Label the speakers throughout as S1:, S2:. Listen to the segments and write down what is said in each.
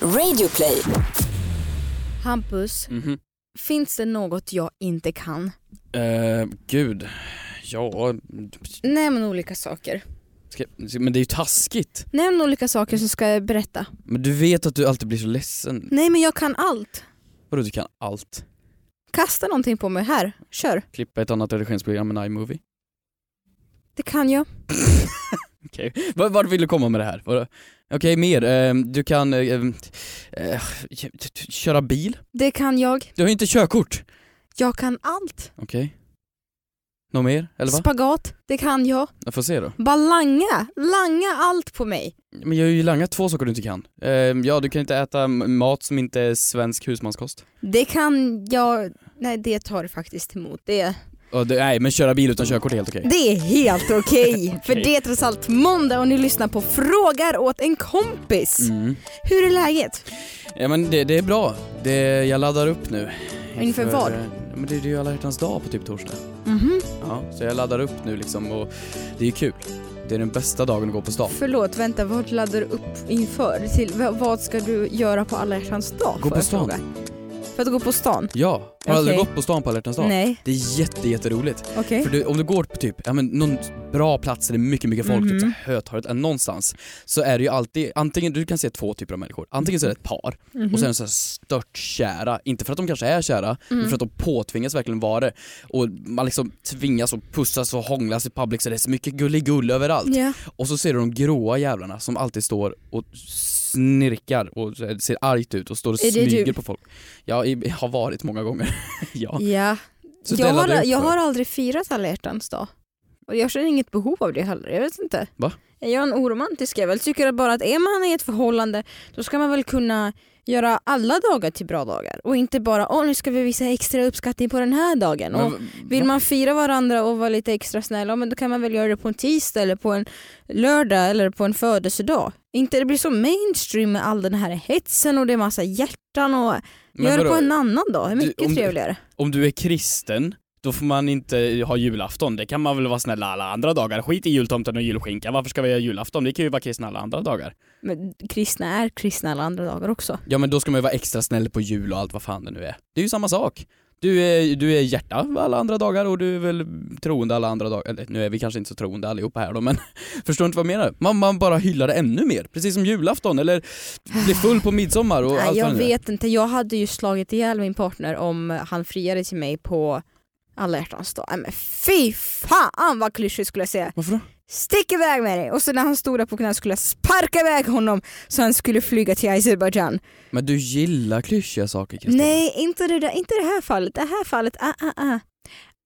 S1: Radioplay.
S2: Hampus,
S3: Mhm.
S2: finns det något jag inte kan?
S3: Eh, gud, ja,
S2: Nämn olika saker.
S3: ska, men det är ju taskigt.
S2: Nämn olika saker så ska jag berätta.
S3: Men du vet att du alltid blir så ledsen.
S2: Nej men jag kan allt.
S3: Vadå du kan allt?
S2: Kasta någonting på mig här, kör.
S3: Klippa ett annat redigeringsprogram än iMovie.
S2: Det kan jag.
S3: Okej, okay. vart vill du komma med det här? Vadå? Okej, mer. Eh, du kan eh, eh, k- k- köra bil.
S2: Det kan jag.
S3: Du har ju inte körkort.
S2: Jag kan allt.
S3: Okej. Något mer? Eller va?
S2: Spagat, det kan jag.
S3: Jag får se då.
S2: Bara langa, langa allt på mig.
S3: Men jag har ju langat två saker du inte kan. Eh, ja, du kan inte äta m- mat som inte är svensk husmanskost.
S2: Det kan jag... Nej det tar det faktiskt emot. Det,
S3: Och det, nej, men köra bil utan
S2: Mm.
S3: körkort är helt okej.
S2: det är helt okej. För
S3: Okej.
S2: det är trots allt måndag och ni lyssnar på Frågar åt en kompis.
S3: Mm.
S2: Hur är läget?
S3: Ja men det, det är bra. Det, jag laddar upp nu.
S2: Inför vad?
S3: eh, ja, Men det, det är ju alla hjärtans dag på typ torsdag.
S2: Mhm.
S3: Ja, så jag laddar upp nu liksom och det är ju kul. Det är den bästa dagen att gå på stan.
S2: Förlåt, vänta, vad laddar du upp inför? Till, v- vad ska du göra på alla hjärtans dag?
S3: Gå
S2: får
S3: på
S2: jag
S3: stan.
S2: fråga? För att gå på stan?
S3: Ja, har du aldrig
S2: Okej.
S3: gått på stan på alla hjärtans dag?
S2: Nej,
S3: Det är jätte, jätteroligt.
S2: okej.
S3: För du, om du går på typ, ja men någon bra plats där det är mycket, mycket folk,
S2: Mhm.
S3: typ så här Hötorget, eh, någonstans. Så är det ju alltid, antingen, du kan se två typer av människor. Antingen så är det ett par
S2: Mhm.
S3: och sen så här stört kära. Inte för att de kanske är kära,
S2: Mm.
S3: För att de påtvingas verkligen vara det. Och man liksom tvingas och pussas och hånglas i public så det är så mycket gulligull överallt.
S2: Ja.
S3: Och så ser du de gråa jävlarna som alltid står och snirkar och ser argt ut och står och
S2: Är det
S3: smyger
S2: du?
S3: på folk. Ja, jag har varit många gånger. ja.
S2: ja.
S3: Så
S2: Jag,
S3: delade
S2: har,
S3: upp
S2: jag
S3: för.
S2: har aldrig firat alla hjärtans dag. Och jag känner inget behov av det heller, jag vet inte.
S3: Va?
S2: Jag är en oromantisk jävel, tycker bara att är man i ett förhållande då ska man väl kunna göra alla dagar till bra dagar och inte bara åh nu ska vi visa extra uppskattning på den här dagen. och
S3: Men,
S2: Vill man fira varandra och vara lite extra snäll, ja, men då kan man väl göra det på en tisdag eller på en lördag eller på en födelsedag. Inte det blir så mainstream med all den här hetsen och det är massa hjärtan och
S3: men
S2: gör det
S3: vadå?
S2: på en annan dag, det är
S3: Du,
S2: mycket
S3: om du-
S2: trevligare.
S3: Om du är kristen, då får man inte ha julafton. Det kan man väl vara snälla alla andra dagar. Skit i jultomten och julskinka. Varför ska vi göra julafton? Vi kan ju vara kristna alla andra dagar.
S2: Men kristna är kristna alla andra dagar också.
S3: Ja men då ska man ju vara extra snäll på jul och allt vad fan det nu är. Det är ju samma sak. Du är, du är hjärta alla andra dagar och du är väl troende alla andra dagar. Eller nu är vi kanske inte så troende allihopa här då men förstår inte vad jag menar? Man, man bara hyllar det ännu mer. Precis som julafton eller blir full på midsommar och
S2: Nej,
S3: allt
S2: jag
S3: vad det nu är.
S2: vet inte, jag hade ju slagit ihjäl min partner om han friade till mig på alla hjärtans dag. Nej, men fy fan vad klyschigt skulle jag säga.
S3: Varför då?
S2: Stick iväg med dig! Och så när han stod där på knä skulle jag sparka iväg honom så han skulle flyga till Azerbajdzjan.
S3: Men du gillar klyschiga saker Kristin.
S2: Nej, inte det, där, inte det här fallet. Det här fallet, ah, ah, ah.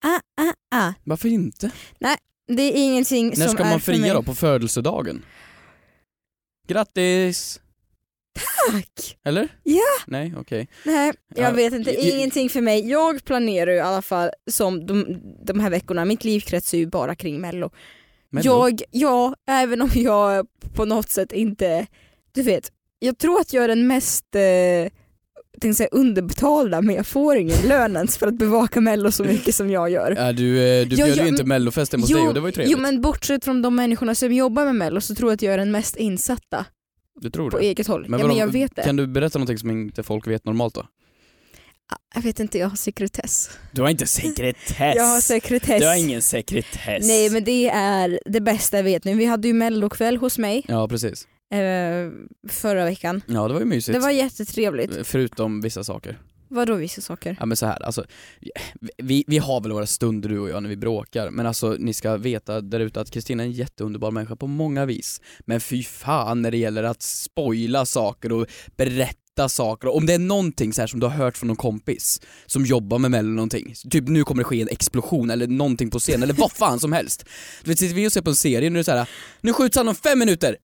S2: Ah, ah, ah.
S3: Varför inte?
S2: Det är ingenting som
S3: När ska
S2: är
S3: man
S2: för mig.
S3: fria då? På födelsedagen? Grattis!
S2: Tack!
S3: Eller?
S2: Ja.
S3: Nej, okej.
S2: Nej, jag
S3: Ja,
S2: vet inte.
S3: jag- jag-
S2: Ingenting för mig. Jag planerar ju i alla fall som de, de här veckorna, mitt liv kretsar ju bara kring mello.
S3: Men då-
S2: Jag, ja, även om jag på något sätt inte, du vet, jag tror att jag är den mest eh, tänkte säga underbetalda men jag får ingen lön ens för att bevaka mello så mycket som jag gör.
S3: Ja, du, eh, du
S2: Ja,
S3: bjöd
S2: ja,
S3: ju inte
S2: men-
S3: mellofest hemma hos
S2: Jo,
S3: dig och det var ju trevligt.
S2: Jo men bortsett från de människorna som jobbar med mello så tror jag att jag är den mest insatta
S3: Du tror
S2: på
S3: det?
S2: eget håll. ja,
S3: vadå,
S2: men jag vet det.
S3: Kan du berätta någonting som inte folk vet normalt då?
S2: Ah, Jag vet inte, jag har sekretess.
S3: Du har inte sekretess.
S2: Jag har sekretess.
S3: ingen sekretess.
S2: Nej men det är det bästa jag vet nu. Vi hade ju mellokväll hos mig
S3: Ja precis.
S2: eh, förra veckan.
S3: Ja det var ju mysigt.
S2: Det var jättetrevligt.
S3: Förutom vissa saker.
S2: Vadå vissa saker?
S3: Ja men så här, alltså, vi, vi har väl våra stunder du och jag när vi bråkar, men alltså ni ska veta där ute att Kristina är en jätteunderbar människa på många vis. Men fy fan när det gäller att spoila saker och berätta saker, om det är någonting så här som du har hört från någon kompis som jobbar med Mello eller någonting, typ nu kommer det ske en explosion eller någonting på scen eller vad fan som helst. Du vet, sitter vi och ser på en serie nu är det så här, nu skjuts han om fem minuter!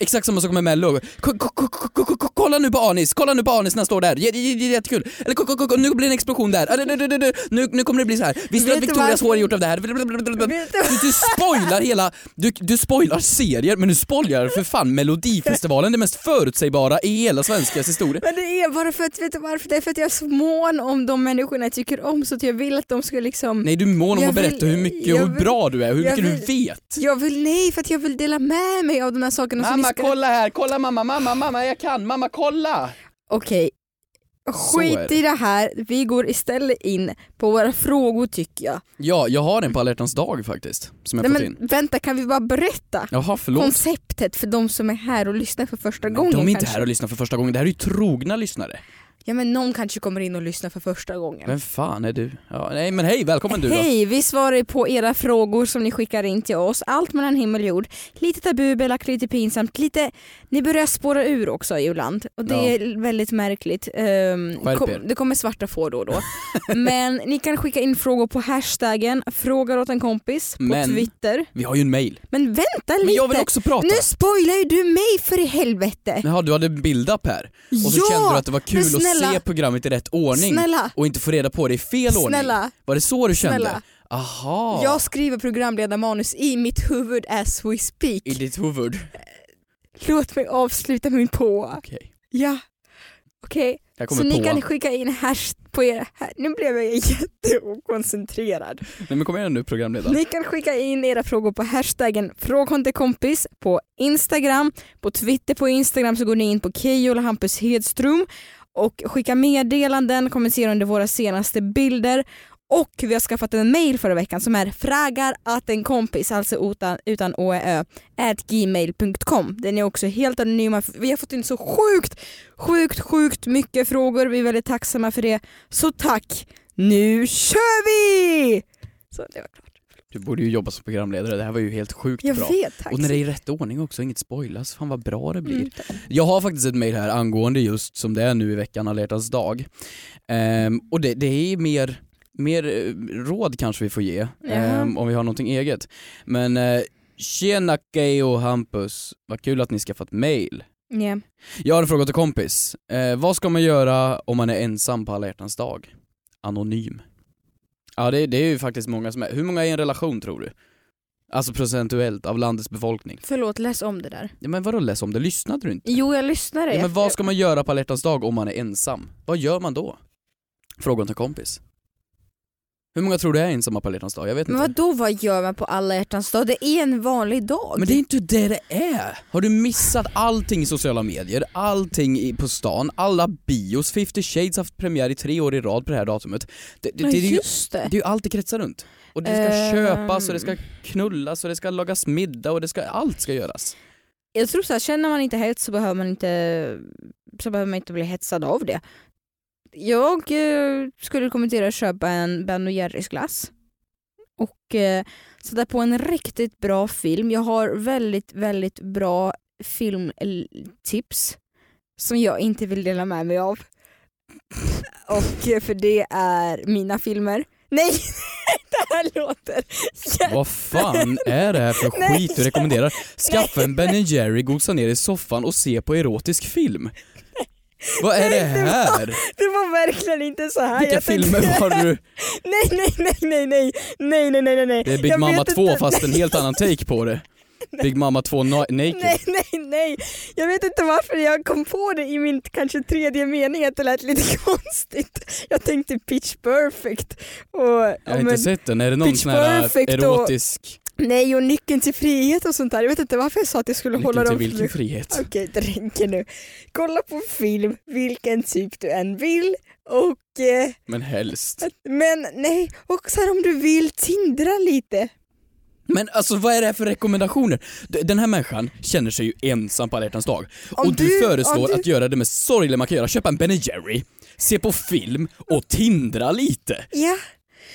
S3: Exakt samma sak med Mello. K- k- k- k- k- k- Kolla nu på Anis, kolla nu på Anis när han står där. J- j- j- Jättekul. Eller k- k- k- nu blir det en explosion där. Ah, du- du- du- du- du. Nu, nu kommer det bli så här. Visste du
S2: Vet
S3: att
S2: du
S3: Victorias
S2: varför-
S3: hår är gjort av det här? Du,
S2: Vet du-
S3: du spoilar hela, du, du spoilar serier men du spoilar för fan melodifestivalen, det mest förutsägbara i hela svenskans historia.
S2: Men det är bara för att, vet du varför? Det är för att jag är så mån om de människorna jag tycker om så att jag vill att de ska liksom
S3: Nej du är mån om
S2: Jag
S3: att berätta
S2: vill-
S3: hur mycket
S2: jag
S3: och hur
S2: vill-
S3: bra du är och hur
S2: jag
S3: mycket du vet.
S2: Jag vill, nej för att jag vill dela med mig av av de här sakerna som ni
S3: Mamma
S2: ska...
S3: kolla här, kolla mamma, mamma, mamma jag kan, mamma kolla!
S2: Okej,
S3: Så är
S2: skit
S3: det.
S2: i det här. Vi går istället in på våra frågor tycker jag.
S3: Ja, jag har en på alla hjärtans dag faktiskt, som jag
S2: Nej
S3: fått
S2: men
S3: in.
S2: vänta, kan vi bara berätta
S3: Jaha, förlåt.
S2: konceptet för de som är här och lyssnar för första
S3: Men
S2: gången?
S3: de är inte
S2: kanske?
S3: här och lyssnar för första gången, det här är ju trogna lyssnare.
S2: Ja men någon kanske kommer in och lyssnar för första gången.
S3: Vem fan är du? Ja, nej men hej, välkommen du då.
S2: Hej, vi svarar på era frågor som ni skickar in till oss. Allt mellan himmel och jord. Lite tabu, belagt, lite pinsamt, lite... Ni börjar spåra ur också ibland och det
S3: Ja.
S2: är väldigt märkligt. Ehm,
S3: Skärp
S2: kom,
S3: er.
S2: det kommer svarta får då och då. Men ni kan skicka in frågor på hashtaggen frågar åt en kompis på
S3: Men-
S2: Twitter.
S3: Vi har ju en mail.
S2: Men vänta
S3: Men
S2: lite!
S3: jag vill också prata.
S2: Nu spoilar ju du mig för i helvete!
S3: Jaha, du hade en build-up här. Och så
S2: ja!
S3: kände du att det var kul
S2: men snälla-
S3: att se programmet i rätt ordning
S2: Snälla,
S3: och inte få reda på det i fel ordning.
S2: snälla,
S3: Var det så du kände?
S2: snälla.
S3: Aha.
S2: Jag skriver programledarmanus i mitt huvud as we speak.
S3: I ditt huvud.
S2: Låt mig avsluta min på.
S3: Okej,
S2: Ja. Okej,
S3: här
S2: så
S3: kommer
S2: ni
S3: på.
S2: kan skicka in hash på era... här- Nu blev jag jätteokoncentrerad.
S3: Nej men kom igen nu programledare.
S2: Ni kan skicka in era frågor på hashtaggen frågon till kompis på Instagram. På Twitter på Instagram så går ni in på Keyyo eller Hampus Hedström och skicka meddelanden, kommentera under våra senaste bilder och vi har skaffat en mail förra veckan som är fragar att en kompis, alltså utan, utan å ä ö, at gmail.com. Den är också helt anonyma. Vi har fått in så sjukt, sjukt, sjukt mycket frågor. Vi är väldigt tacksamma för det. Så tack! Nu kör vi! Så det var klart.
S3: Du borde ju jobba som programledare, det här var ju helt sjukt
S2: Jag
S3: bra.
S2: vet, tack.
S3: Och när det är i rätt ordning också, inget spoilas. Fan vad bra det blir.
S2: Mm.
S3: Jag har faktiskt ett mejl här angående just som det är nu i veckan, alla hjärtans dag. Ehm, och det, det är mer, mer eh, råd kanske vi får ge,
S2: Jaha.
S3: ehm, om vi har någonting eget. Men eh, tjena Keyyo och Hampus, vad kul att ni skaffat mejl.
S2: Mm. Ja.
S3: Jag har en fråga till kompis. Eh, vad ska man göra om man är ensam på alla hjärtans dag? Anonym. Ja det, det är ju faktiskt många som är, hur många är i en relation tror du? Alltså procentuellt av landets befolkning.
S2: Förlåt, läs om det där.
S3: Ja, men vadå läs om det, lyssnade du inte?
S2: Jo, jag lyssnade.
S3: Ja, men vad ska man göra på alla hjärtans dag om man är ensam? Vad gör man då? Frågan till kompis. Hur många tror du är ensamma på alla hjärtans dag? Jag vet
S2: men
S3: inte.
S2: vadå, vad gör man på alla hjärtans dag? Det är en vanlig dag.
S3: Men det är inte det det är! Har du missat allting i sociala medier, allting i, på stan, alla bios, 50 shades har haft premiär i tre år i rad på det här datumet. Det, det,
S2: Ja,
S3: det, är ju-
S2: just det.
S3: det är ju allt det kretsar runt. Och det ska
S2: Ehm.
S3: köpas och det ska knullas och det ska lagas middag och det ska, allt ska göras.
S2: Jag tror så här, känner man inte hets så behöver man inte, så behöver man inte bli hetsad av det. Jag eh, skulle rekommendera att köpa en Ben Jerrys glass och eh, sätta på en riktigt bra film. Jag har väldigt, väldigt bra filmtips som jag inte vill dela med mig av. Och eh, för det är mina filmer. Nej! det här låter...
S3: Vad fan är det här för
S2: Nej.
S3: skit du rekommenderar? Skaffa en Ben Jerry, gosa ner i soffan och se på erotisk film. Vad är det här?
S2: Det var verkligen inte så här
S3: Vilka
S2: jag tänkte-
S3: filmer var du?
S2: Nej nej nej nej nej nej nej nej nej nej.
S3: Det är Big
S2: Jag
S3: Mamma
S2: vet
S3: 2
S2: inte.
S3: fast en helt annan take på det. Big Mamma 2 na- Naked.
S2: Nej nej nej. Jag vet inte varför jag kom på det i min kanske tredje mening att det lät lite konstigt. Jag tänkte pitch perfect och ja,
S3: Jag har
S2: men-
S3: inte sett den. Är det någon
S2: Pitch
S3: sån här äh,
S2: Perfect och-
S3: erotisk...
S2: nej och nyckeln till frihet och sånt där. Jag vet inte varför jag sa att jag skulle hålla
S3: Nyckeln till
S2: dem
S3: vilken frihet?
S2: Okej, det räcker nu. Kolla på film, vilken typ du än vill och eh,
S3: Men helst.
S2: men nej, och så här om du vill tindra lite.
S3: Men alltså vad är det här för rekommendationer? D- Den här människan känner sig ju ensam på alla hjärtans dag.
S2: Om
S3: och du,
S2: du- om
S3: föreslår
S2: du-
S3: att göra det mest sorgliga man kan göra, köpa en Ben Jerry, se på film och tindra lite.
S2: Ja.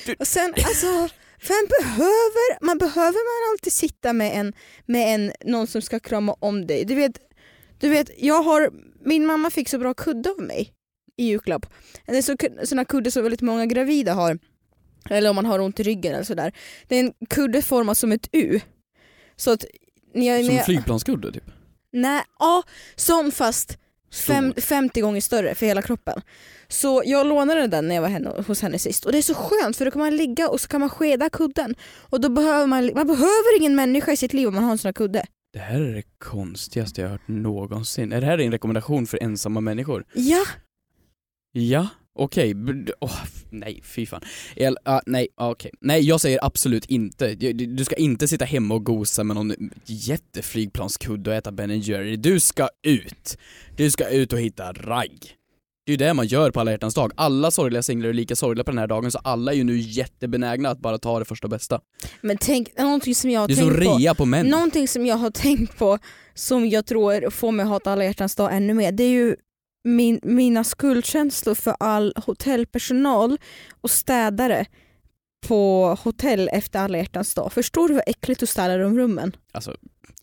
S3: Du-
S2: Och sen alltså, vem behöver, man behöver man alltid sitta med en, med en, någon som ska krama om dig. Du vet, du vet, jag har, min mamma fick så bra kudde av mig i julklapp. Det är så, sådana kuddar som väldigt många gravida har. Eller om man har ont i ryggen eller sådär. Det är en kudde formad som ett U. Så att när jag, när
S3: Som en
S2: jag,
S3: flygplanskudde typ.
S2: Nej, ja, som fast
S3: Stor.
S2: fem, 50 gånger större för hela kroppen. Så jag lånade den när jag var henne, hos henne sist och det är så skönt för då kan man ligga och så kan man skeda kudden. Och då behöver man, man behöver ingen människa i sitt liv om man har en sån här kudde.
S3: Det här är det konstigaste jag har hört någonsin. Är det här en rekommendation för ensamma människor?
S2: Ja,
S3: Ja, Okej, b- åh, f- nej fy fan. El, ah, nej, ah, okej. Nej jag säger absolut inte. Du, du du ska inte sitta hemma och gosa med någon jätteflygplanskudde och äta Ben Jerry. Du ska ut! Du ska ut och hitta ragg. Det är ju det man gör på alla hjärtans dag. Alla sorgliga singlar är lika sorgliga på den här dagen så alla är ju nu jättebenägna att bara ta det första bästa.
S2: Men tänk, någonting som jag har
S3: Det är som
S2: tänkt på.
S3: rea på män.
S2: Någonting som jag har tänkt på som jag tror får mig att hata alla hjärtans dag ännu mer det är ju min, mina skuldkänslor för all hotellpersonal och städare på hotell efter alla hjärtans dag. Förstår du vad äckligt att städa de rummen?
S3: Alltså,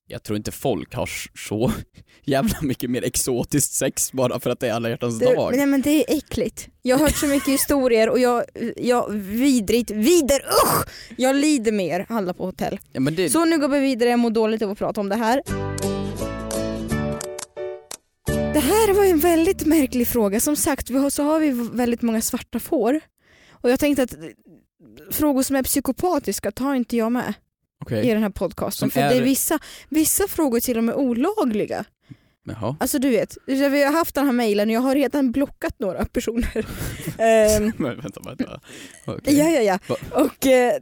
S3: jag tror inte folk har s- så jävla mycket mer exotiskt sex bara för att det är alla hjärtans
S2: Det,
S3: dag.
S2: nej men det är äckligt. Jag har hört så mycket historier och jag, jag vidrigt, vider, usch! Jag lider med er alla på hotell.
S3: Ja, men det,
S2: Så nu går vi vidare, jag mår dåligt av att prata om det här. Det här var ju en väldigt märklig fråga. Som sagt vi har, så har vi väldigt många svarta får. Och jag tänkte att eh, frågor som är psykopatiska tar inte jag med
S3: okej.
S2: i den här podcasten.
S3: Som
S2: För
S3: är-
S2: det är vissa, vissa frågor till och med olagliga.
S3: Jaha.
S2: Alltså du vet, vi har haft den här mejlen och jag har redan blockat några personer. Ehm,
S3: Men vänta, vänta. Okej.
S2: ja, ja, ja.
S3: Va-
S2: Och, eh,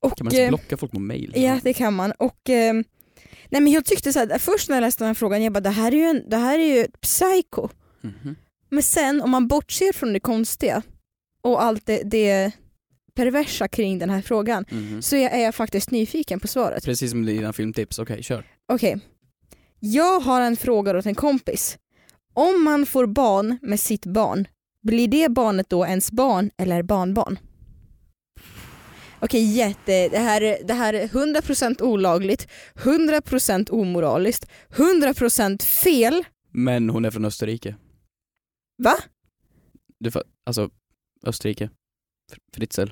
S2: och,
S3: Kan man ens
S2: eh,
S3: blocka folk på mail?
S2: Ja det kan man. Och, eh, nej, men jag tyckte så här, först när jag läste den här frågan, jag bara det här är ju, en, det här är ju ett psyko.
S3: Mhm.
S2: Men sen om man bortser från det konstiga och allt det, det perversa kring den här frågan
S3: Mhm.
S2: så är är jag faktiskt nyfiken på svaret.
S3: Precis som dina filmtips, okej kör.
S2: Okej, jag har en fråga åt en kompis. Om man får barn med sitt barn, blir det barnet då ens barn eller barnbarn? Okej, jätte. Det här, är- det här är 100% olagligt, 100% omoraliskt, 100% fel.
S3: Men hon är från Österrike.
S2: Va?
S3: Du fa- alltså, Österrike. Fr- Fritzl.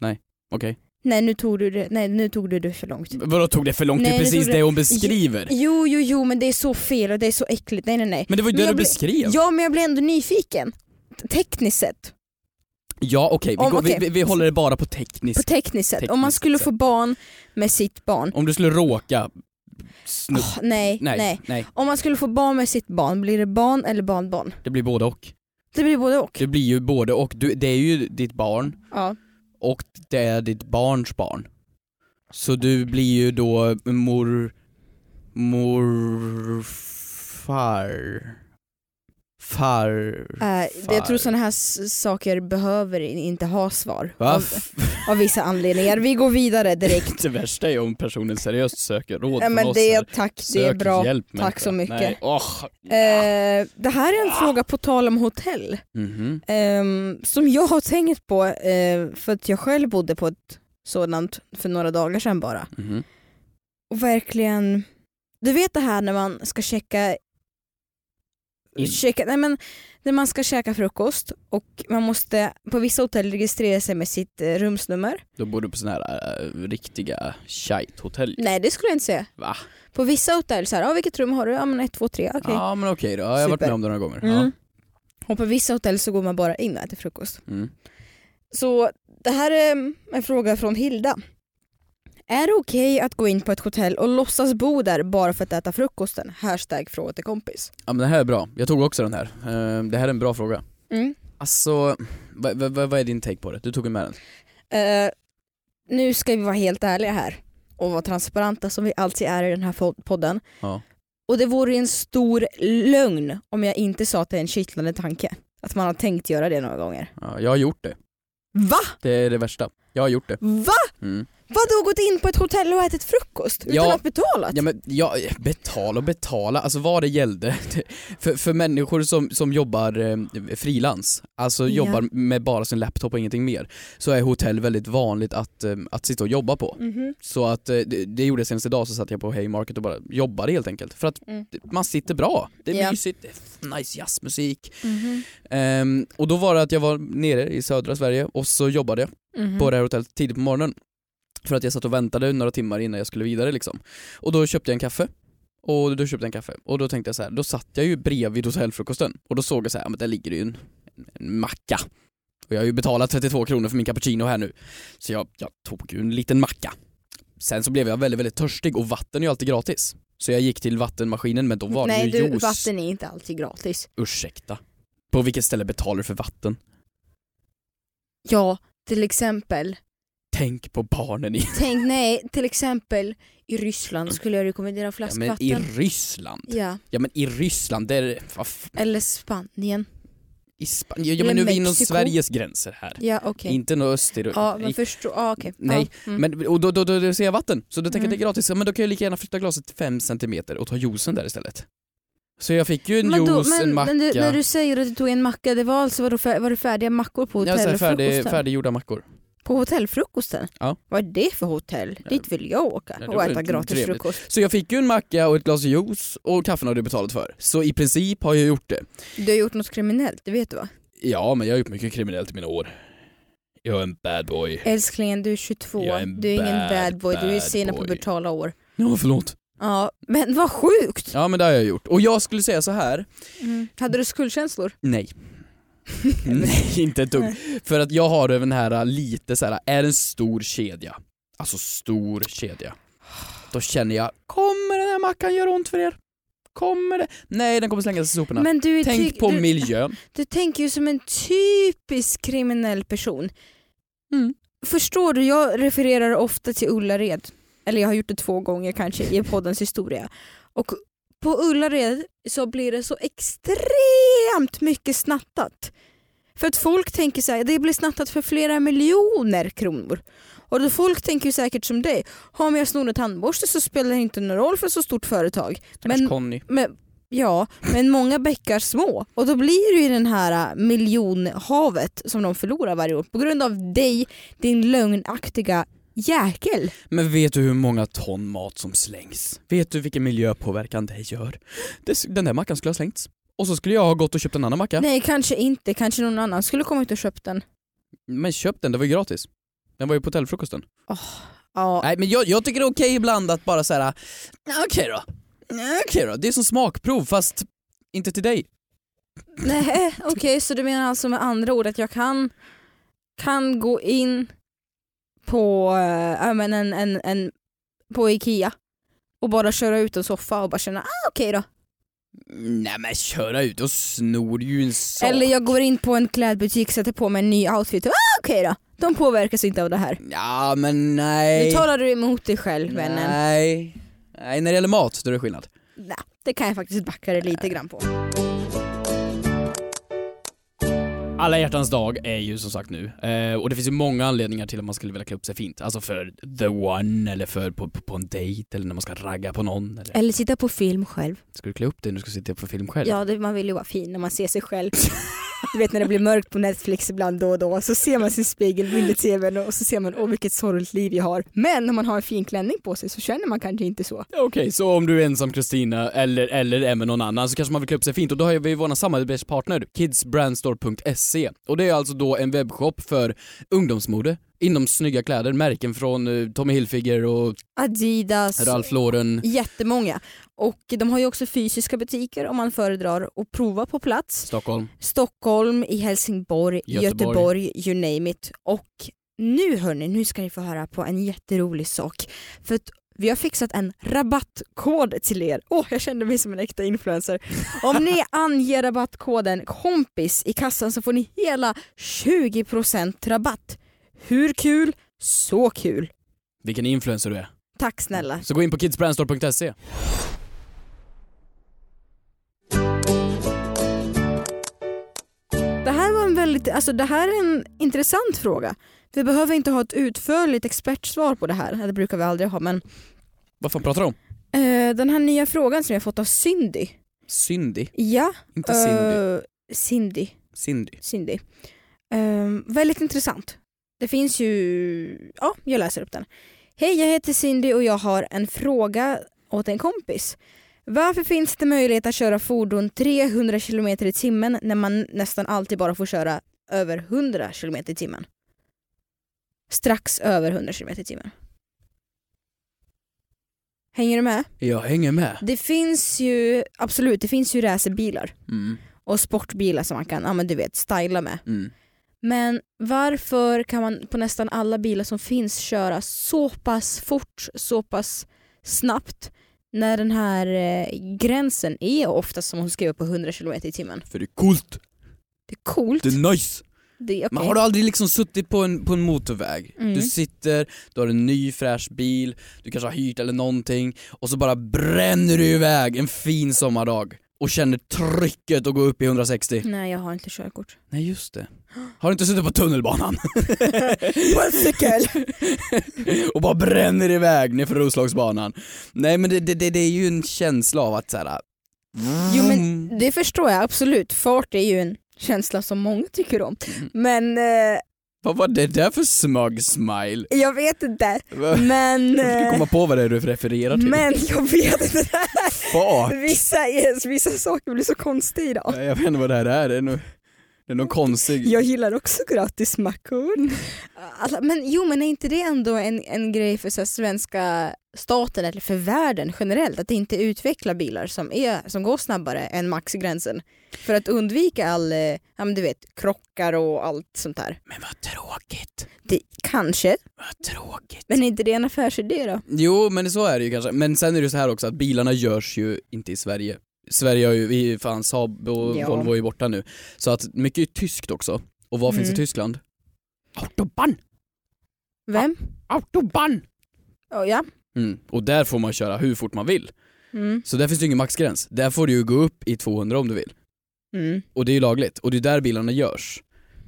S3: Nej, okej.
S2: Nej, nu tog du det, nej, nu tog du det för långt.
S3: Vadå tog det för lång tid?
S2: Nej, det
S3: Precis
S2: tog
S3: det,
S2: det-
S3: hon beskriver.
S2: Jo, jo, jo, men det är så fel och det är så äckligt. Nej, nej, nej.
S3: Men det var ju
S2: Men
S3: det
S2: jag
S3: du
S2: blir-
S3: beskrev.
S2: Ja, men jag blir ändå nyfiken. T- Tekniskt sett.
S3: Ja okej, vi,
S2: Om-
S3: går- vi-
S2: okej.
S3: vi, vi håller det bara på
S2: På
S3: tekniskt.
S2: tekniskt sätt. Om man
S3: Tekniskt
S2: skulle
S3: sett.
S2: få barn med sitt barn.
S3: Om du skulle råka snu-
S2: Åh, nej, nej,
S3: nej, nej,
S2: Om man skulle få barn med sitt barn, blir det barn eller barnbarn?
S3: det blir både och.
S2: Det blir både och.
S3: Det blir ju både och. Du, det är ju ditt barn
S2: Ja.
S3: och det är ditt barns barn. Så du blir ju då mor... morfar... Far...
S2: Eh,
S3: Far.
S2: jag tror sådana här s- saker behöver in- inte ha svar.
S3: Va?
S2: Av, av vissa anledningar. Vi går vidare direkt.
S3: Det värsta är om personen seriöst söker råd
S2: Nej,
S3: från
S2: men
S3: oss
S2: det,
S3: här.
S2: tack, det är
S3: Sök
S2: bra.
S3: hjälp människa.
S2: så mycket.
S3: Nej. åh.
S2: Eh, det här är en fråga på tal om hotell.
S3: Mhm.
S2: ehm, som jag har tänkt på eh, för att jag själv bodde på ett sådant för några dagar sedan bara.
S3: Mhm.
S2: och verkligen, du vet det här när man ska checka,
S3: In.
S2: checka nej men, när man ska käka frukost och man måste på vissa hotell registrera sig med sitt eh, rumsnummer.
S3: Då bor du på sådana här äh, riktiga shite-hotell.
S2: Nej det skulle jag inte säga.
S3: Va?
S2: På vissa hotell så här, ah, vilket rum har du? Ja men ett, två, tre, Mm, okej.
S3: Ja men okej då, jag har varit
S2: Super.
S3: med om det några gånger.
S2: Mm. Och på vissa hotell så går man bara in och äter frukost.
S3: Ja. Mm.
S2: Så det här är mm, en fråga från Hilda. Är det okej att gå in på ett hotell och låtsas bo där bara för att äta frukosten? Hashtag fråga till kompis.
S3: ja men det här är bra, jag tog också den här. Eh, Det här är en bra fråga.
S2: Mm.
S3: Alltså, vad, vad, vad är din take på det? Du tog ju med den.
S2: Eh, nu ska vi vara helt ärliga här och vara transparenta som vi alltid är i den här fo- podden.
S3: Ja.
S2: Och det vore en stor lögn om jag inte sa att det är en kittlande tanke. Att man har tänkt göra det några gånger.
S3: Ja, jag har gjort det.
S2: Va?
S3: Det är det värsta. Jag har gjort det.
S2: Va?
S3: Mm.
S2: Vadå gått in på ett hotell och ätit frukost utan
S3: Ja.
S2: att betala?
S3: Ja men, ja, betala och betala, alltså vad det gällde. För, för människor som, som jobbar eh, frilans, alltså
S2: Ja.
S3: jobbar med bara sin laptop och ingenting mer, så är hotell väldigt vanligt att, eh, att sitta och jobba på.
S2: Mhm.
S3: Så att eh, det, det gjorde jag senast idag så satt jag på Haymarket och bara jobbade helt enkelt. För att
S2: Mm.
S3: det- man sitter bra, det är
S2: Ja.
S3: mysigt, det är nice jazzmusik. Ehm, och då var det att jag var nere i södra Sverige och så jobbade jag
S2: Mhm.
S3: på det här hotellet tidigt på morgonen. För att jag satt och väntade några timmar innan jag skulle vidare liksom. Och då köpte jag en kaffe. Och då köpte jag en kaffe. Och då tänkte jag så här, då satt jag ju bredvid hotellfrukosten. Och då såg jag så här, ja, men där ligger det ju en, en macka. Och jag har ju betalat 32 kronor för min cappuccino här nu. Så jag, jag tog ju en liten macka. Sen så blev jag väldigt, väldigt törstig och vatten är ju alltid gratis. Så jag gick till vattenmaskinen men då var
S2: Nej
S3: det ju
S2: du,
S3: juice.
S2: vatten är inte alltid gratis.
S3: Ursäkta. På vilket ställe betalar du för vatten?
S2: Ja, till exempel,
S3: Tänk på barnen i...
S2: tänk nej, till exempel i Ryssland skulle jag rekommendera
S3: Ja, men i
S2: flaskvatten.
S3: Ryssland.
S2: Ja,
S3: Ja men i Ryssland, där... är- vad f-
S2: eller Spanien.
S3: I Spanien? Ja men
S2: Eller
S3: nu är vi inom
S2: Mexiko.
S3: Sveriges gränser här.
S2: Ja okej.
S3: Inte något Östeuropa.
S2: Ja men förstå, ja okej.
S3: Nej,
S2: ja, mm.
S3: Men, och då, då, då, då ser jag vatten, så då tänker jag
S2: Mm.
S3: det är gratis. Ja, men då kan jag lika gärna flytta glaset 5 centimeter och ta juicen där istället. Så jag fick ju en
S2: Men då-
S3: juice,
S2: men-
S3: en macka.
S2: Men du, när du säger att du tog en macka, det var alltså var, du fär, var det färdiga mackor på
S3: ja, så här,
S2: hotellfrukosten?
S3: färdig, färdiggjorda mackor.
S2: På hotellfrukosten?
S3: Ja.
S2: Vad är det för hotell? Dit vill jag åka
S3: Ja, det
S2: och
S3: var
S2: äta
S3: inte
S2: gratis
S3: trevligt.
S2: frukost.
S3: Så jag fick ju en macka och ett glas juice och kaffen hade jag betalat för. Så i princip har jag gjort det.
S2: Du har gjort något kriminellt, det vet du va?
S3: Ja, men jag har gjort mycket kriminellt i mina år. Jag är en bad boy.
S2: Älsklingen, du är 22.
S3: Jag är en
S2: du är ingen
S3: bad,
S2: bad boy, du är
S3: bad
S2: sen på
S3: boy.
S2: betala år.
S3: Ja, förlåt.
S2: Ja, men vad sjukt! Mm.
S3: Ja, men det har jag gjort. Och jag skulle säga så här.
S2: Hade du skuldkänslor?
S3: Nej. Nej, inte ett dugg. För att jag har även den här äh, lite så här, är det en stor kedja, alltså stor kedja, då känner jag, kommer den här mackan göra ont för er? Kommer det? Nej, den kommer slängas i soporna.
S2: Men du, är ty-
S3: Mm. Tänk på
S2: du,
S3: miljön.
S2: du tänker ju som en typisk kriminell person.
S3: Mm.
S2: Förstår du, jag refererar ofta till Ullared, eller jag har gjort det två gånger kanske i poddens historia. Och på Ullared så blir det så extremt mycket snattat. För att folk tänker så här, det blir snattat för flera miljoner kronor. Och då folk tänker ju säkert som dig, har jag snor en tandborste så spelar det inte någon roll för ett så stort företag.
S3: Men... Conny.
S2: Men, ja, men många bäckar små. Och då blir det ju den här äh, miljonhavet som de förlorar varje år på grund av dig, din lögnaktiga jäkel.
S3: Men vet du hur många ton mat som slängs? Vet du vilken miljöpåverkan det gör? Det- Den där mackan skulle ha slängts. Och så skulle jag ha gått och köpt en annan macka.
S2: Nej, kanske inte. Kanske någon annan skulle kommit och köpt den.
S3: Men köp den, det var ju gratis. Den var ju på hotellfrukosten.
S2: Ja,
S3: Nej men jag, jag tycker det är okej ibland att bara såhär, okej då. Okej då, det är som smakprov fast inte till dig.
S2: nej, okej, så du menar alltså med andra ord att jag kan, kan gå in på, äh, ja, men en, en, en, på Ikea och bara köra ut en soffa och bara känna, ah okej då.
S3: Nej men köra ut och snor ju en sak.
S2: Eller jag går in på en klädbutik, sätter på mig en ny outfit. Ah, Okej då, de påverkas inte av det här.
S3: Ja men nej.
S2: Nu talar du emot dig själv vännen.
S3: Nej. Nej, när det gäller mat då är det skillnad.
S2: Nej, det kan jag faktiskt backa dig lite grann på.
S3: Alla hjärtans dag är ju som sagt nu eh, och det finns ju många anledningar till att man skulle vilja klä upp sig fint. Alltså för the one eller för på, på, på en dejt eller när man ska ragga på någon. Eller...
S2: Eller sitta på film själv.
S3: Ska du klä upp dig när du ska sitta på film själv?
S2: Ja, det, man vill ju vara fin när man ser sig själv. Du vet när det blir mörkt på Netflix ibland då och då så ser man sin spegelbild i tvn och så ser man åh vilket sorgligt liv jag har. Men om man har en fin klänning på sig så känner man kanske inte så.
S3: Okej, så om du är ensam Kristina eller, eller är med någon annan så kanske man vill klä upp sig fint och då har vi vår samarbetspartner kidsbrandstore.se och det är alltså då en webbshop för ungdomsmode inom snygga kläder, märken från eh, Tommy Hilfiger och
S2: Adidas,
S3: Ralph Lauren.
S2: jättemånga. Och de har ju också fysiska butiker om man föredrar att prova på plats.
S3: Stockholm.
S2: Stockholm, i Helsingborg, i
S3: Göteborg.
S2: Göteborg, you name it. Och nu hörni, nu ska ni få höra på en jätterolig sak. För att vi har fixat en rabattkod till er. Åh, jag kände mig som en äkta influencer. Om ni anger rabattkoden KOMPIS i kassan så får ni hela 20% rabatt. Hur kul? Så kul!
S3: Vilken influencer du är.
S2: Tack snälla.
S3: Så gå in på kidsbrandstore.se.
S2: Det här var en väldigt, alltså det här är en intressant fråga. Vi behöver inte ha ett utförligt expertsvar på det här, det brukar vi aldrig ha men
S3: Vad fan pratar du om?
S2: Eh, den här nya frågan som jag fått av Cindy.
S3: Cindy.
S2: Ja.
S3: Inte Cindy.
S2: eh, Cindy.
S3: Cindy.
S2: Cindy. Eh, väldigt intressant. Det finns ju... Ja, jag läser upp den. Hej, jag heter Cindy och jag har en fråga åt en kompis. Varför finns det möjlighet att köra fordon 300 km i timmen när man nästan alltid bara får köra över 100 km i timmen? Strax över 100 km i timmen. Hänger du med?
S3: Jag hänger med.
S2: Det finns ju, absolut, det finns ju racerbilar
S3: Mm.
S2: och sportbilar som man kan, ja men du vet, styla med.
S3: Mm.
S2: Men varför kan man på nästan alla bilar som finns köra så pass fort, så pass snabbt när den här eh, gränsen är oftast som hon skrev på 100 km i timmen?
S3: För det är coolt.
S2: Det är coolt.
S3: Det är nice.
S2: Det,
S3: Men
S2: okay.
S3: har du aldrig liksom suttit på en, på en motorväg?
S2: Mm.
S3: Du sitter, du har en ny fräsch bil, du kanske har hyrt eller någonting och så bara bränner du iväg en fin sommardag och känner trycket att gå upp i 160.
S2: Nej jag har inte körkort.
S3: Nej just det. Har du inte suttit på tunnelbanan
S2: På en cykel!
S3: och bara bränner iväg nerför Roslagsbanan? Nej men det, det, det, det är ju en känsla av att mm, såhär...
S2: Jo men det förstår jag absolut, fart är ju en känsla som många tycker om. Men eh,
S3: Vad var det där för smug smile?
S2: jag vet inte.
S3: Va-
S2: Men,
S3: Jag försöker
S2: eh,
S3: komma på vad det är du refererar till.
S2: men jag vet inte.
S3: Fart!
S2: Vissa, yes, vissa saker blir så konstiga idag.
S3: Nej, Jag vet inte vad det här är, det är nog, det är nog konstig...
S2: Jag gillar också gratismackor. Alla, men jo men är inte det ändå en, en grej för så här, svenska staten eller för världen generellt att inte utveckla bilar som, är, som går snabbare än maxgränsen? För att undvika all, eh, ja men du vet, krockar och allt sånt där.
S3: Men vad tråkigt.
S2: Det, kanske,
S3: Vad tråkigt.
S2: men är inte det en affärsidé då?
S3: Jo, men så är det ju kanske. Men sen är det ju så här också att bilarna görs ju inte i Sverige. Sverige har ju, vi fan Saab och
S2: Ja.
S3: Volvo är ju borta nu. Så att mycket är tyskt också. Och vad finns i
S2: Mm.
S3: Tyskland? Autobahn!
S2: Vem?
S3: Autobahn!
S2: Oh, ja.
S3: Mm. Och där får man köra hur fort man vill.
S2: Mm.
S3: Så där finns det ju ingen maxgräns. Där får du ju gå upp i 200 om du vill.
S2: Mm.
S3: Och det är ju lagligt. Och det är där bilarna görs.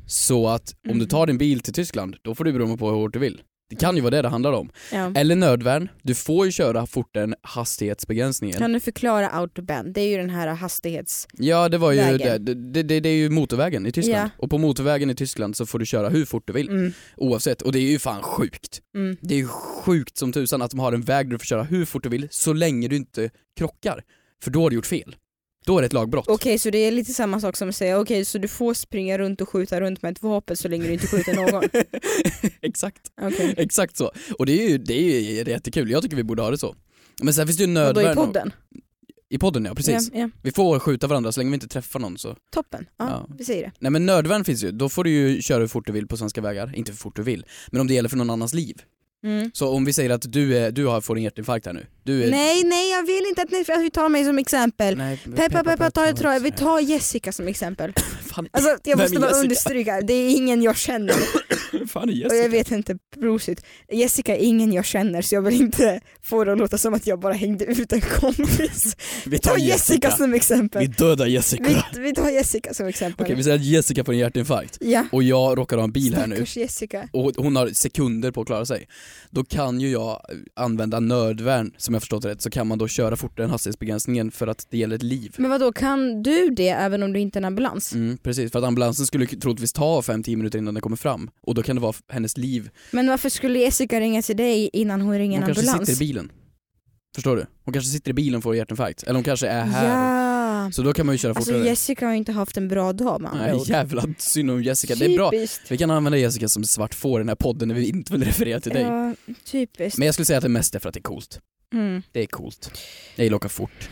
S3: Så att om du
S2: Mm.
S3: tar din bil till Tyskland, då får du bromma på hur hårt du vill. Det kan ju vara det det handlar om.
S2: Ja.
S3: Eller nödvärn, du får ju köra fortare än hastighetsbegränsningen.
S2: Kan du förklara autobahn? Det är ju den här hastighets...
S3: Ja det var ju det,
S2: Vägen.
S3: det, det, det är ju motorvägen i Tyskland. Och på motorvägen i Tyskland så får du köra hur fort du vill
S2: Mm.
S3: oavsett. Och det är ju fan sjukt.
S2: Mm.
S3: Det är ju sjukt som tusan att de har en väg där du får köra hur fort du vill så länge du inte krockar. För då har du gjort fel. Då är det ett lagbrott.
S2: Okej, så det är lite samma sak som att säga okej, så du får springa runt och skjuta runt med ett vapen så länge du inte skjuter någon.
S3: Exakt,
S2: Okej.
S3: exakt så. Och det är ju, det är ju jättekul, jag tycker vi borde ha det så. Men sen finns det ju
S2: Och då
S3: nödvärn.
S2: i podden?
S3: I podden ja, precis.
S2: Ja, ja.
S3: Vi får skjuta varandra så länge vi inte träffar någon så.
S2: Toppen, ja,
S3: Ja.
S2: vi säger det.
S3: Nej men nödvärn finns ju, då får du ju köra hur fort du vill på svenska vägar. Inte hur fort du vill, men om det gäller för någon annans liv.
S2: Mm.
S3: Så om vi säger att du, är, du har, får en hjärtinfarkt här nu. Du är,
S2: Nej, nej jag vill inte att ni, att vi tar mig som exempel.
S3: nej
S2: Peppa, peppa, ta i tröja. Vi tar Jessica som exempel.
S3: Fan,
S2: Alltså, jag
S3: Vem är
S2: måste bara
S3: Jessica?
S2: understryka, det är ingen jag känner.
S3: fan är
S2: Och jag
S3: Jessica?
S2: vet inte, prosit. Jessica är ingen jag känner så jag vill inte få det att låta som att jag bara hängde ut en kompis.
S3: Vi
S2: Ta Jessica som
S3: Vi
S2: exempel.
S3: dödar Jessica.
S2: Vi,
S3: Okej
S2: vi tar Jessica som exempel.
S3: vi säger att Jessica får en hjärtinfarkt
S2: Ja.
S3: och jag råkar ha en bil här nu
S2: Stackars Jessica.
S3: och hon har sekunder på att klara sig. Då kan ju jag använda nödvärn, som jag förstått rätt, så kan man då köra fortare än hastighetsbegränsningen för att det gäller ett liv.
S2: Men vad då kan du det även om du inte är en ambulans?
S3: Mm, precis, för att ambulansen skulle troligtvis ta 5-10 minuter innan den kommer fram och då kan det vara f- hennes liv
S2: Men varför skulle Jessica ringa till dig innan hon ringer en
S3: Hon kanske
S2: ambulans?
S3: sitter i bilen. Förstår du? Hon kanske sitter i bilen och får hjärtinfarkt. Eller hon kanske är här.
S2: Ja.
S3: Så då kan man ju köra
S2: Alltså
S3: fortare.
S2: Jessica har ju inte haft en bra dag med andra
S3: Nej,
S2: ord.
S3: jävla synd om Jessica. Det är bra.
S2: Typiskt.
S3: Vi kan använda Jessica som svart får i den här podden när vi inte vill referera till dig.
S2: Ja, typiskt.
S3: Men jag skulle säga att det mest är för att det är coolt.
S2: Mm.
S3: Det är coolt. Jag gillar att åka fort.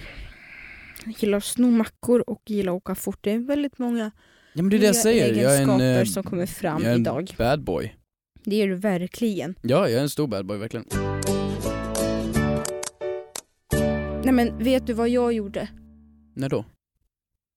S2: Jag gillar att sno mackor och gillar att åka fort. Det är väldigt många
S3: Ja men det är det jag
S2: nya
S3: säger. Jag är en,
S2: egenskaper
S3: eh,
S2: som kommer fram
S3: jag är en
S2: idag.
S3: bad boy.
S2: Det är du verkligen.
S3: Ja, jag är en stor bad boy verkligen.
S2: Nej men vet du vad jag gjorde?
S3: När då?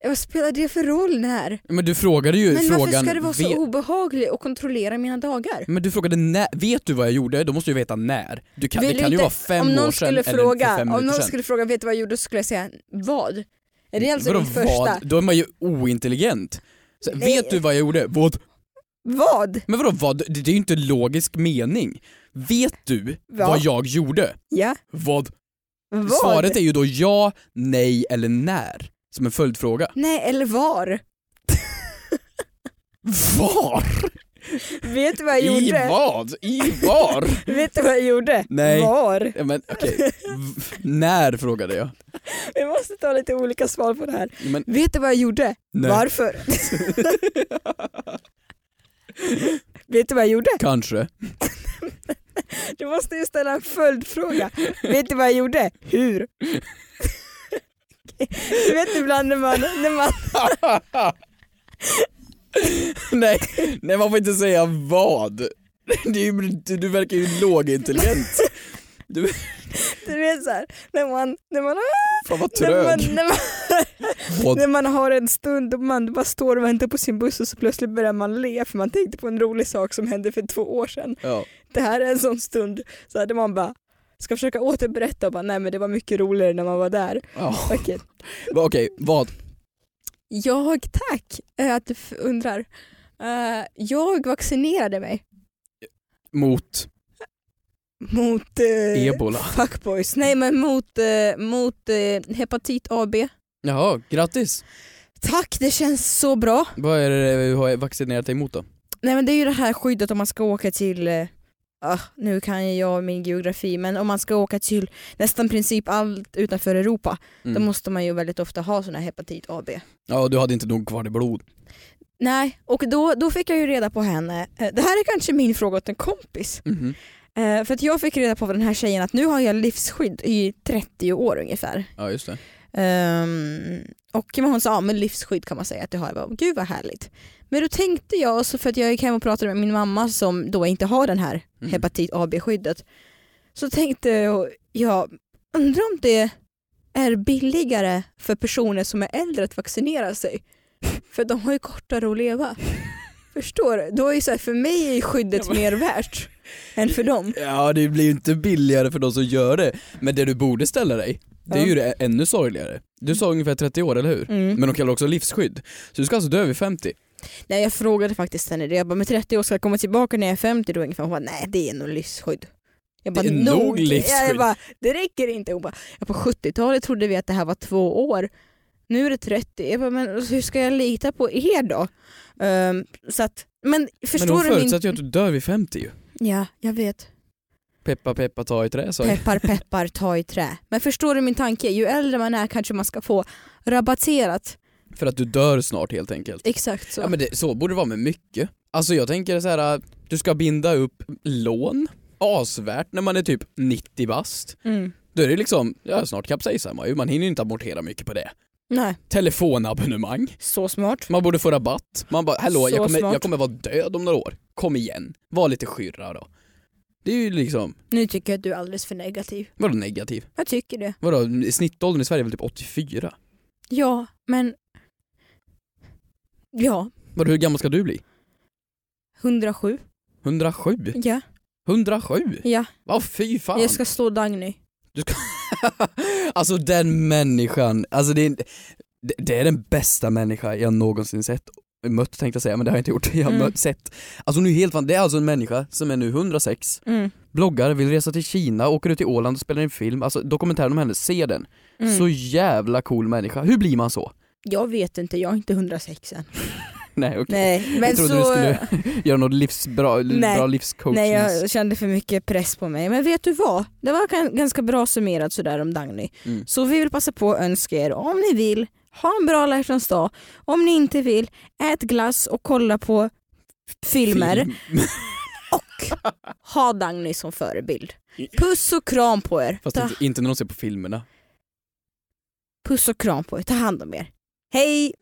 S2: Vad spelar det för roll när?
S3: Men du frågade ju
S2: Men
S3: frågan.
S2: varför ska det vara så
S3: vet-
S2: obehagligt att kontrollera mina dagar?
S3: men du frågade när, vet du vad jag gjorde? Då måste du ju veta när. Du kan,
S2: Vill
S3: det
S2: du
S3: kan ju
S2: inte-
S3: vara fem
S2: om någon
S3: år sedan
S2: skulle
S3: eller
S2: fråga,
S3: fem
S2: Om
S3: minuter
S2: någon
S3: sedan.
S2: skulle fråga vet du vad jag gjorde så skulle jag säga vad? Är det alltså
S3: Vadå
S2: din första?
S3: vad? Då är man ju ointelligent. Så,
S2: Nej.
S3: vet du vad jag gjorde? Vad?
S2: Vad?
S3: Men vadå vad? Det, det är ju inte logisk mening. Vet du
S2: Va?
S3: vad jag gjorde?
S2: Ja,
S3: Vad?
S2: vad?
S3: Svaret är ju då ja, nej eller när. Som en följdfråga.
S2: Nej, eller var?
S3: Var?
S2: Vet du vad jag
S3: I
S2: gjorde?
S3: vad? I var?
S2: Vet du vad jag gjorde?
S3: Nej.
S2: Var?
S3: ja, men okej. V- När frågade jag?
S2: Vi måste ta lite olika svar på det här.
S3: Men
S2: Vet du vad jag gjorde?
S3: nej.
S2: Varför? vet du vad jag gjorde?
S3: Kanske.
S2: Du måste ju ställa en följdfråga. vet du vad jag gjorde? Hur? du vet ibland när man, när man
S3: nej, nej, man får inte säga vad. Det är ju, du, du verkar ju lågintelligent. Du,
S2: Du vet såhär, när man, när man,
S3: fan vad
S2: när
S3: trög.
S2: man, när man
S3: Vad-
S2: När man har en stund och man bara står och väntar på sin buss och så plötsligt börjar man le för man tänkte på en rolig sak som hände för två år sedan.
S3: Ja.
S2: Det här är en sån stund så hade man bara ska försöka återberätta och bara nej men det var mycket roligare när man var där.
S3: Ja.
S2: Okej,
S3: Va- Okej, vad?
S2: Jag tack eh, att du f- undrar. Eh, Jag vaccinerade mig
S3: Mot
S2: mot eh,
S3: ebola?
S2: fuckboys. Nej men mot, eh, mot eh, hepatit AB.
S3: Jaha, grattis!
S2: Tack det känns så bra.
S3: Vad är det du har vaccinerat dig mot då?
S2: Nej men det är ju det här skyddet om man ska åka till, eh, ah, nu kan ju jag min geografi, men om man ska åka till nästan princip allt utanför Europa,
S3: Mm.
S2: då måste man ju väldigt ofta ha sån här hepatit AB.
S3: Ja, du hade inte nog kvar i blod.
S2: Nej, och då, då fick jag ju reda på henne, eh, det här är kanske min fråga åt en kompis,
S3: Mhm.
S2: eh, för att jag fick reda på den här tjejen att nu har jag livsskydd i 30 år ungefär.
S3: Ja, just det.
S2: Ehm, och men hon sa, ja men livsskydd kan man säga att det har. Jag bara, Gud vad härligt. Men då tänkte jag, och så för att jag gick hem och pratade med min mamma som då inte har den här
S3: Mm.
S2: hepatit AB-skyddet. Så tänkte jag, jag undrar om det är billigare för personer som är äldre att vaccinera sig. För de har ju kortare att leva. Förstår du? Då är ju så här, för mig är ju skyddet
S3: Ja, men-
S2: mer värt än för dem.
S3: Ja, det blir ju inte billigare för de som gör det. Men det du borde ställa dig, det är
S2: Ja.
S3: ju det ännu sorgligare. Du sa ungefär 30 år, eller hur?
S2: Mm.
S3: Men de kallar också livsskydd. Så du ska alltså dö vid 50?
S2: Nej jag frågade faktiskt henne det, jag bara med 30 år ska jag komma tillbaka när jag är 50 då ungefär? Hon bara nej det är nog livsskydd. Jag bara,
S3: Det är nog livsskydd.
S2: Ja, jag bara, det räcker inte. Hon bara, ja, på 70-talet trodde vi att det här var två år. Nu är det 30. Jag bara, men hur ska jag lita på er då? Ehm, så att, men
S3: men
S2: förstår
S3: de
S2: du min...
S3: förutsätter ju att du dör vid 50 ju.
S2: Ja, jag vet.
S3: Peppa peppa ta i trä sa jag.
S2: Peppar peppar ta i trä. Men förstår du min tanke? Ju äldre man är kanske man ska få rabatterat.
S3: För att du dör snart helt enkelt.
S2: Exakt så.
S3: Ja men det, så borde det vara med mycket. Alltså jag tänker så här, äh, du ska binda upp lån asvärt när man är typ 90 bast.
S2: mm.
S3: Då är det liksom, ja snart kapsejsar man ju, man hinner ju inte amortera mycket på det.
S2: Nej,
S3: Telefonabonnemang,
S2: så smart.
S3: man borde få rabatt. Man bara, hallå
S2: Så
S3: jag kommer,
S2: smart.
S3: jag kommer vara död om några år. Kom igen, var lite skyrra då. Det är ju liksom,
S2: Nu tycker jag att du är alldeles för negativ.
S3: vadå negativ?
S2: Jag tycker det.
S3: Vadå, snittåldern i Sverige är väl typ 84?
S2: Ja, men... Ja,
S3: Vadå, hur gammal ska du bli?
S2: 107.
S3: 107?
S2: Ja,
S3: 107?
S2: ja.
S3: Vad fy fan!
S2: Jag ska slå Dagny.
S3: Alltså den människan, alltså det är, det- det är den bästa människa jag någonsin sett mött tänkte jag säga men det har jag inte gjort, jag har
S2: Mm.
S3: mött, sett. Alltså nu helt fan, det är alltså en människa som är nu 106,
S2: Mm.
S3: bloggar, vill resa till Kina, åker ut till Åland och spelar in film, alltså dokumentären om henne, se den.
S2: Mm.
S3: Så jävla cool människa, hur blir man så?
S2: Jag vet inte, jag är inte 106 än.
S3: Nej okej,
S2: Nej, men
S3: jag trodde
S2: så...
S3: du skulle göra något livs, bra,
S2: Nej.
S3: bra livscoaching.
S2: Nej, jag kände för mycket press på mig. Men vet du vad? Det var gan- ganska bra summerat sådär om Dagny.
S3: Mm.
S2: Så vi vill passa på att önska er, om ni vill, ha en bra lärtans dag. Om ni inte vill, ät glass och kolla på filmer.
S3: Film.
S2: Och ha Dagny som förebild. Puss och kram på er.
S3: Fast
S2: Ta-
S3: inte, inte när de ser på filmerna.
S2: Puss och kram på er, ta hand om er. Hej!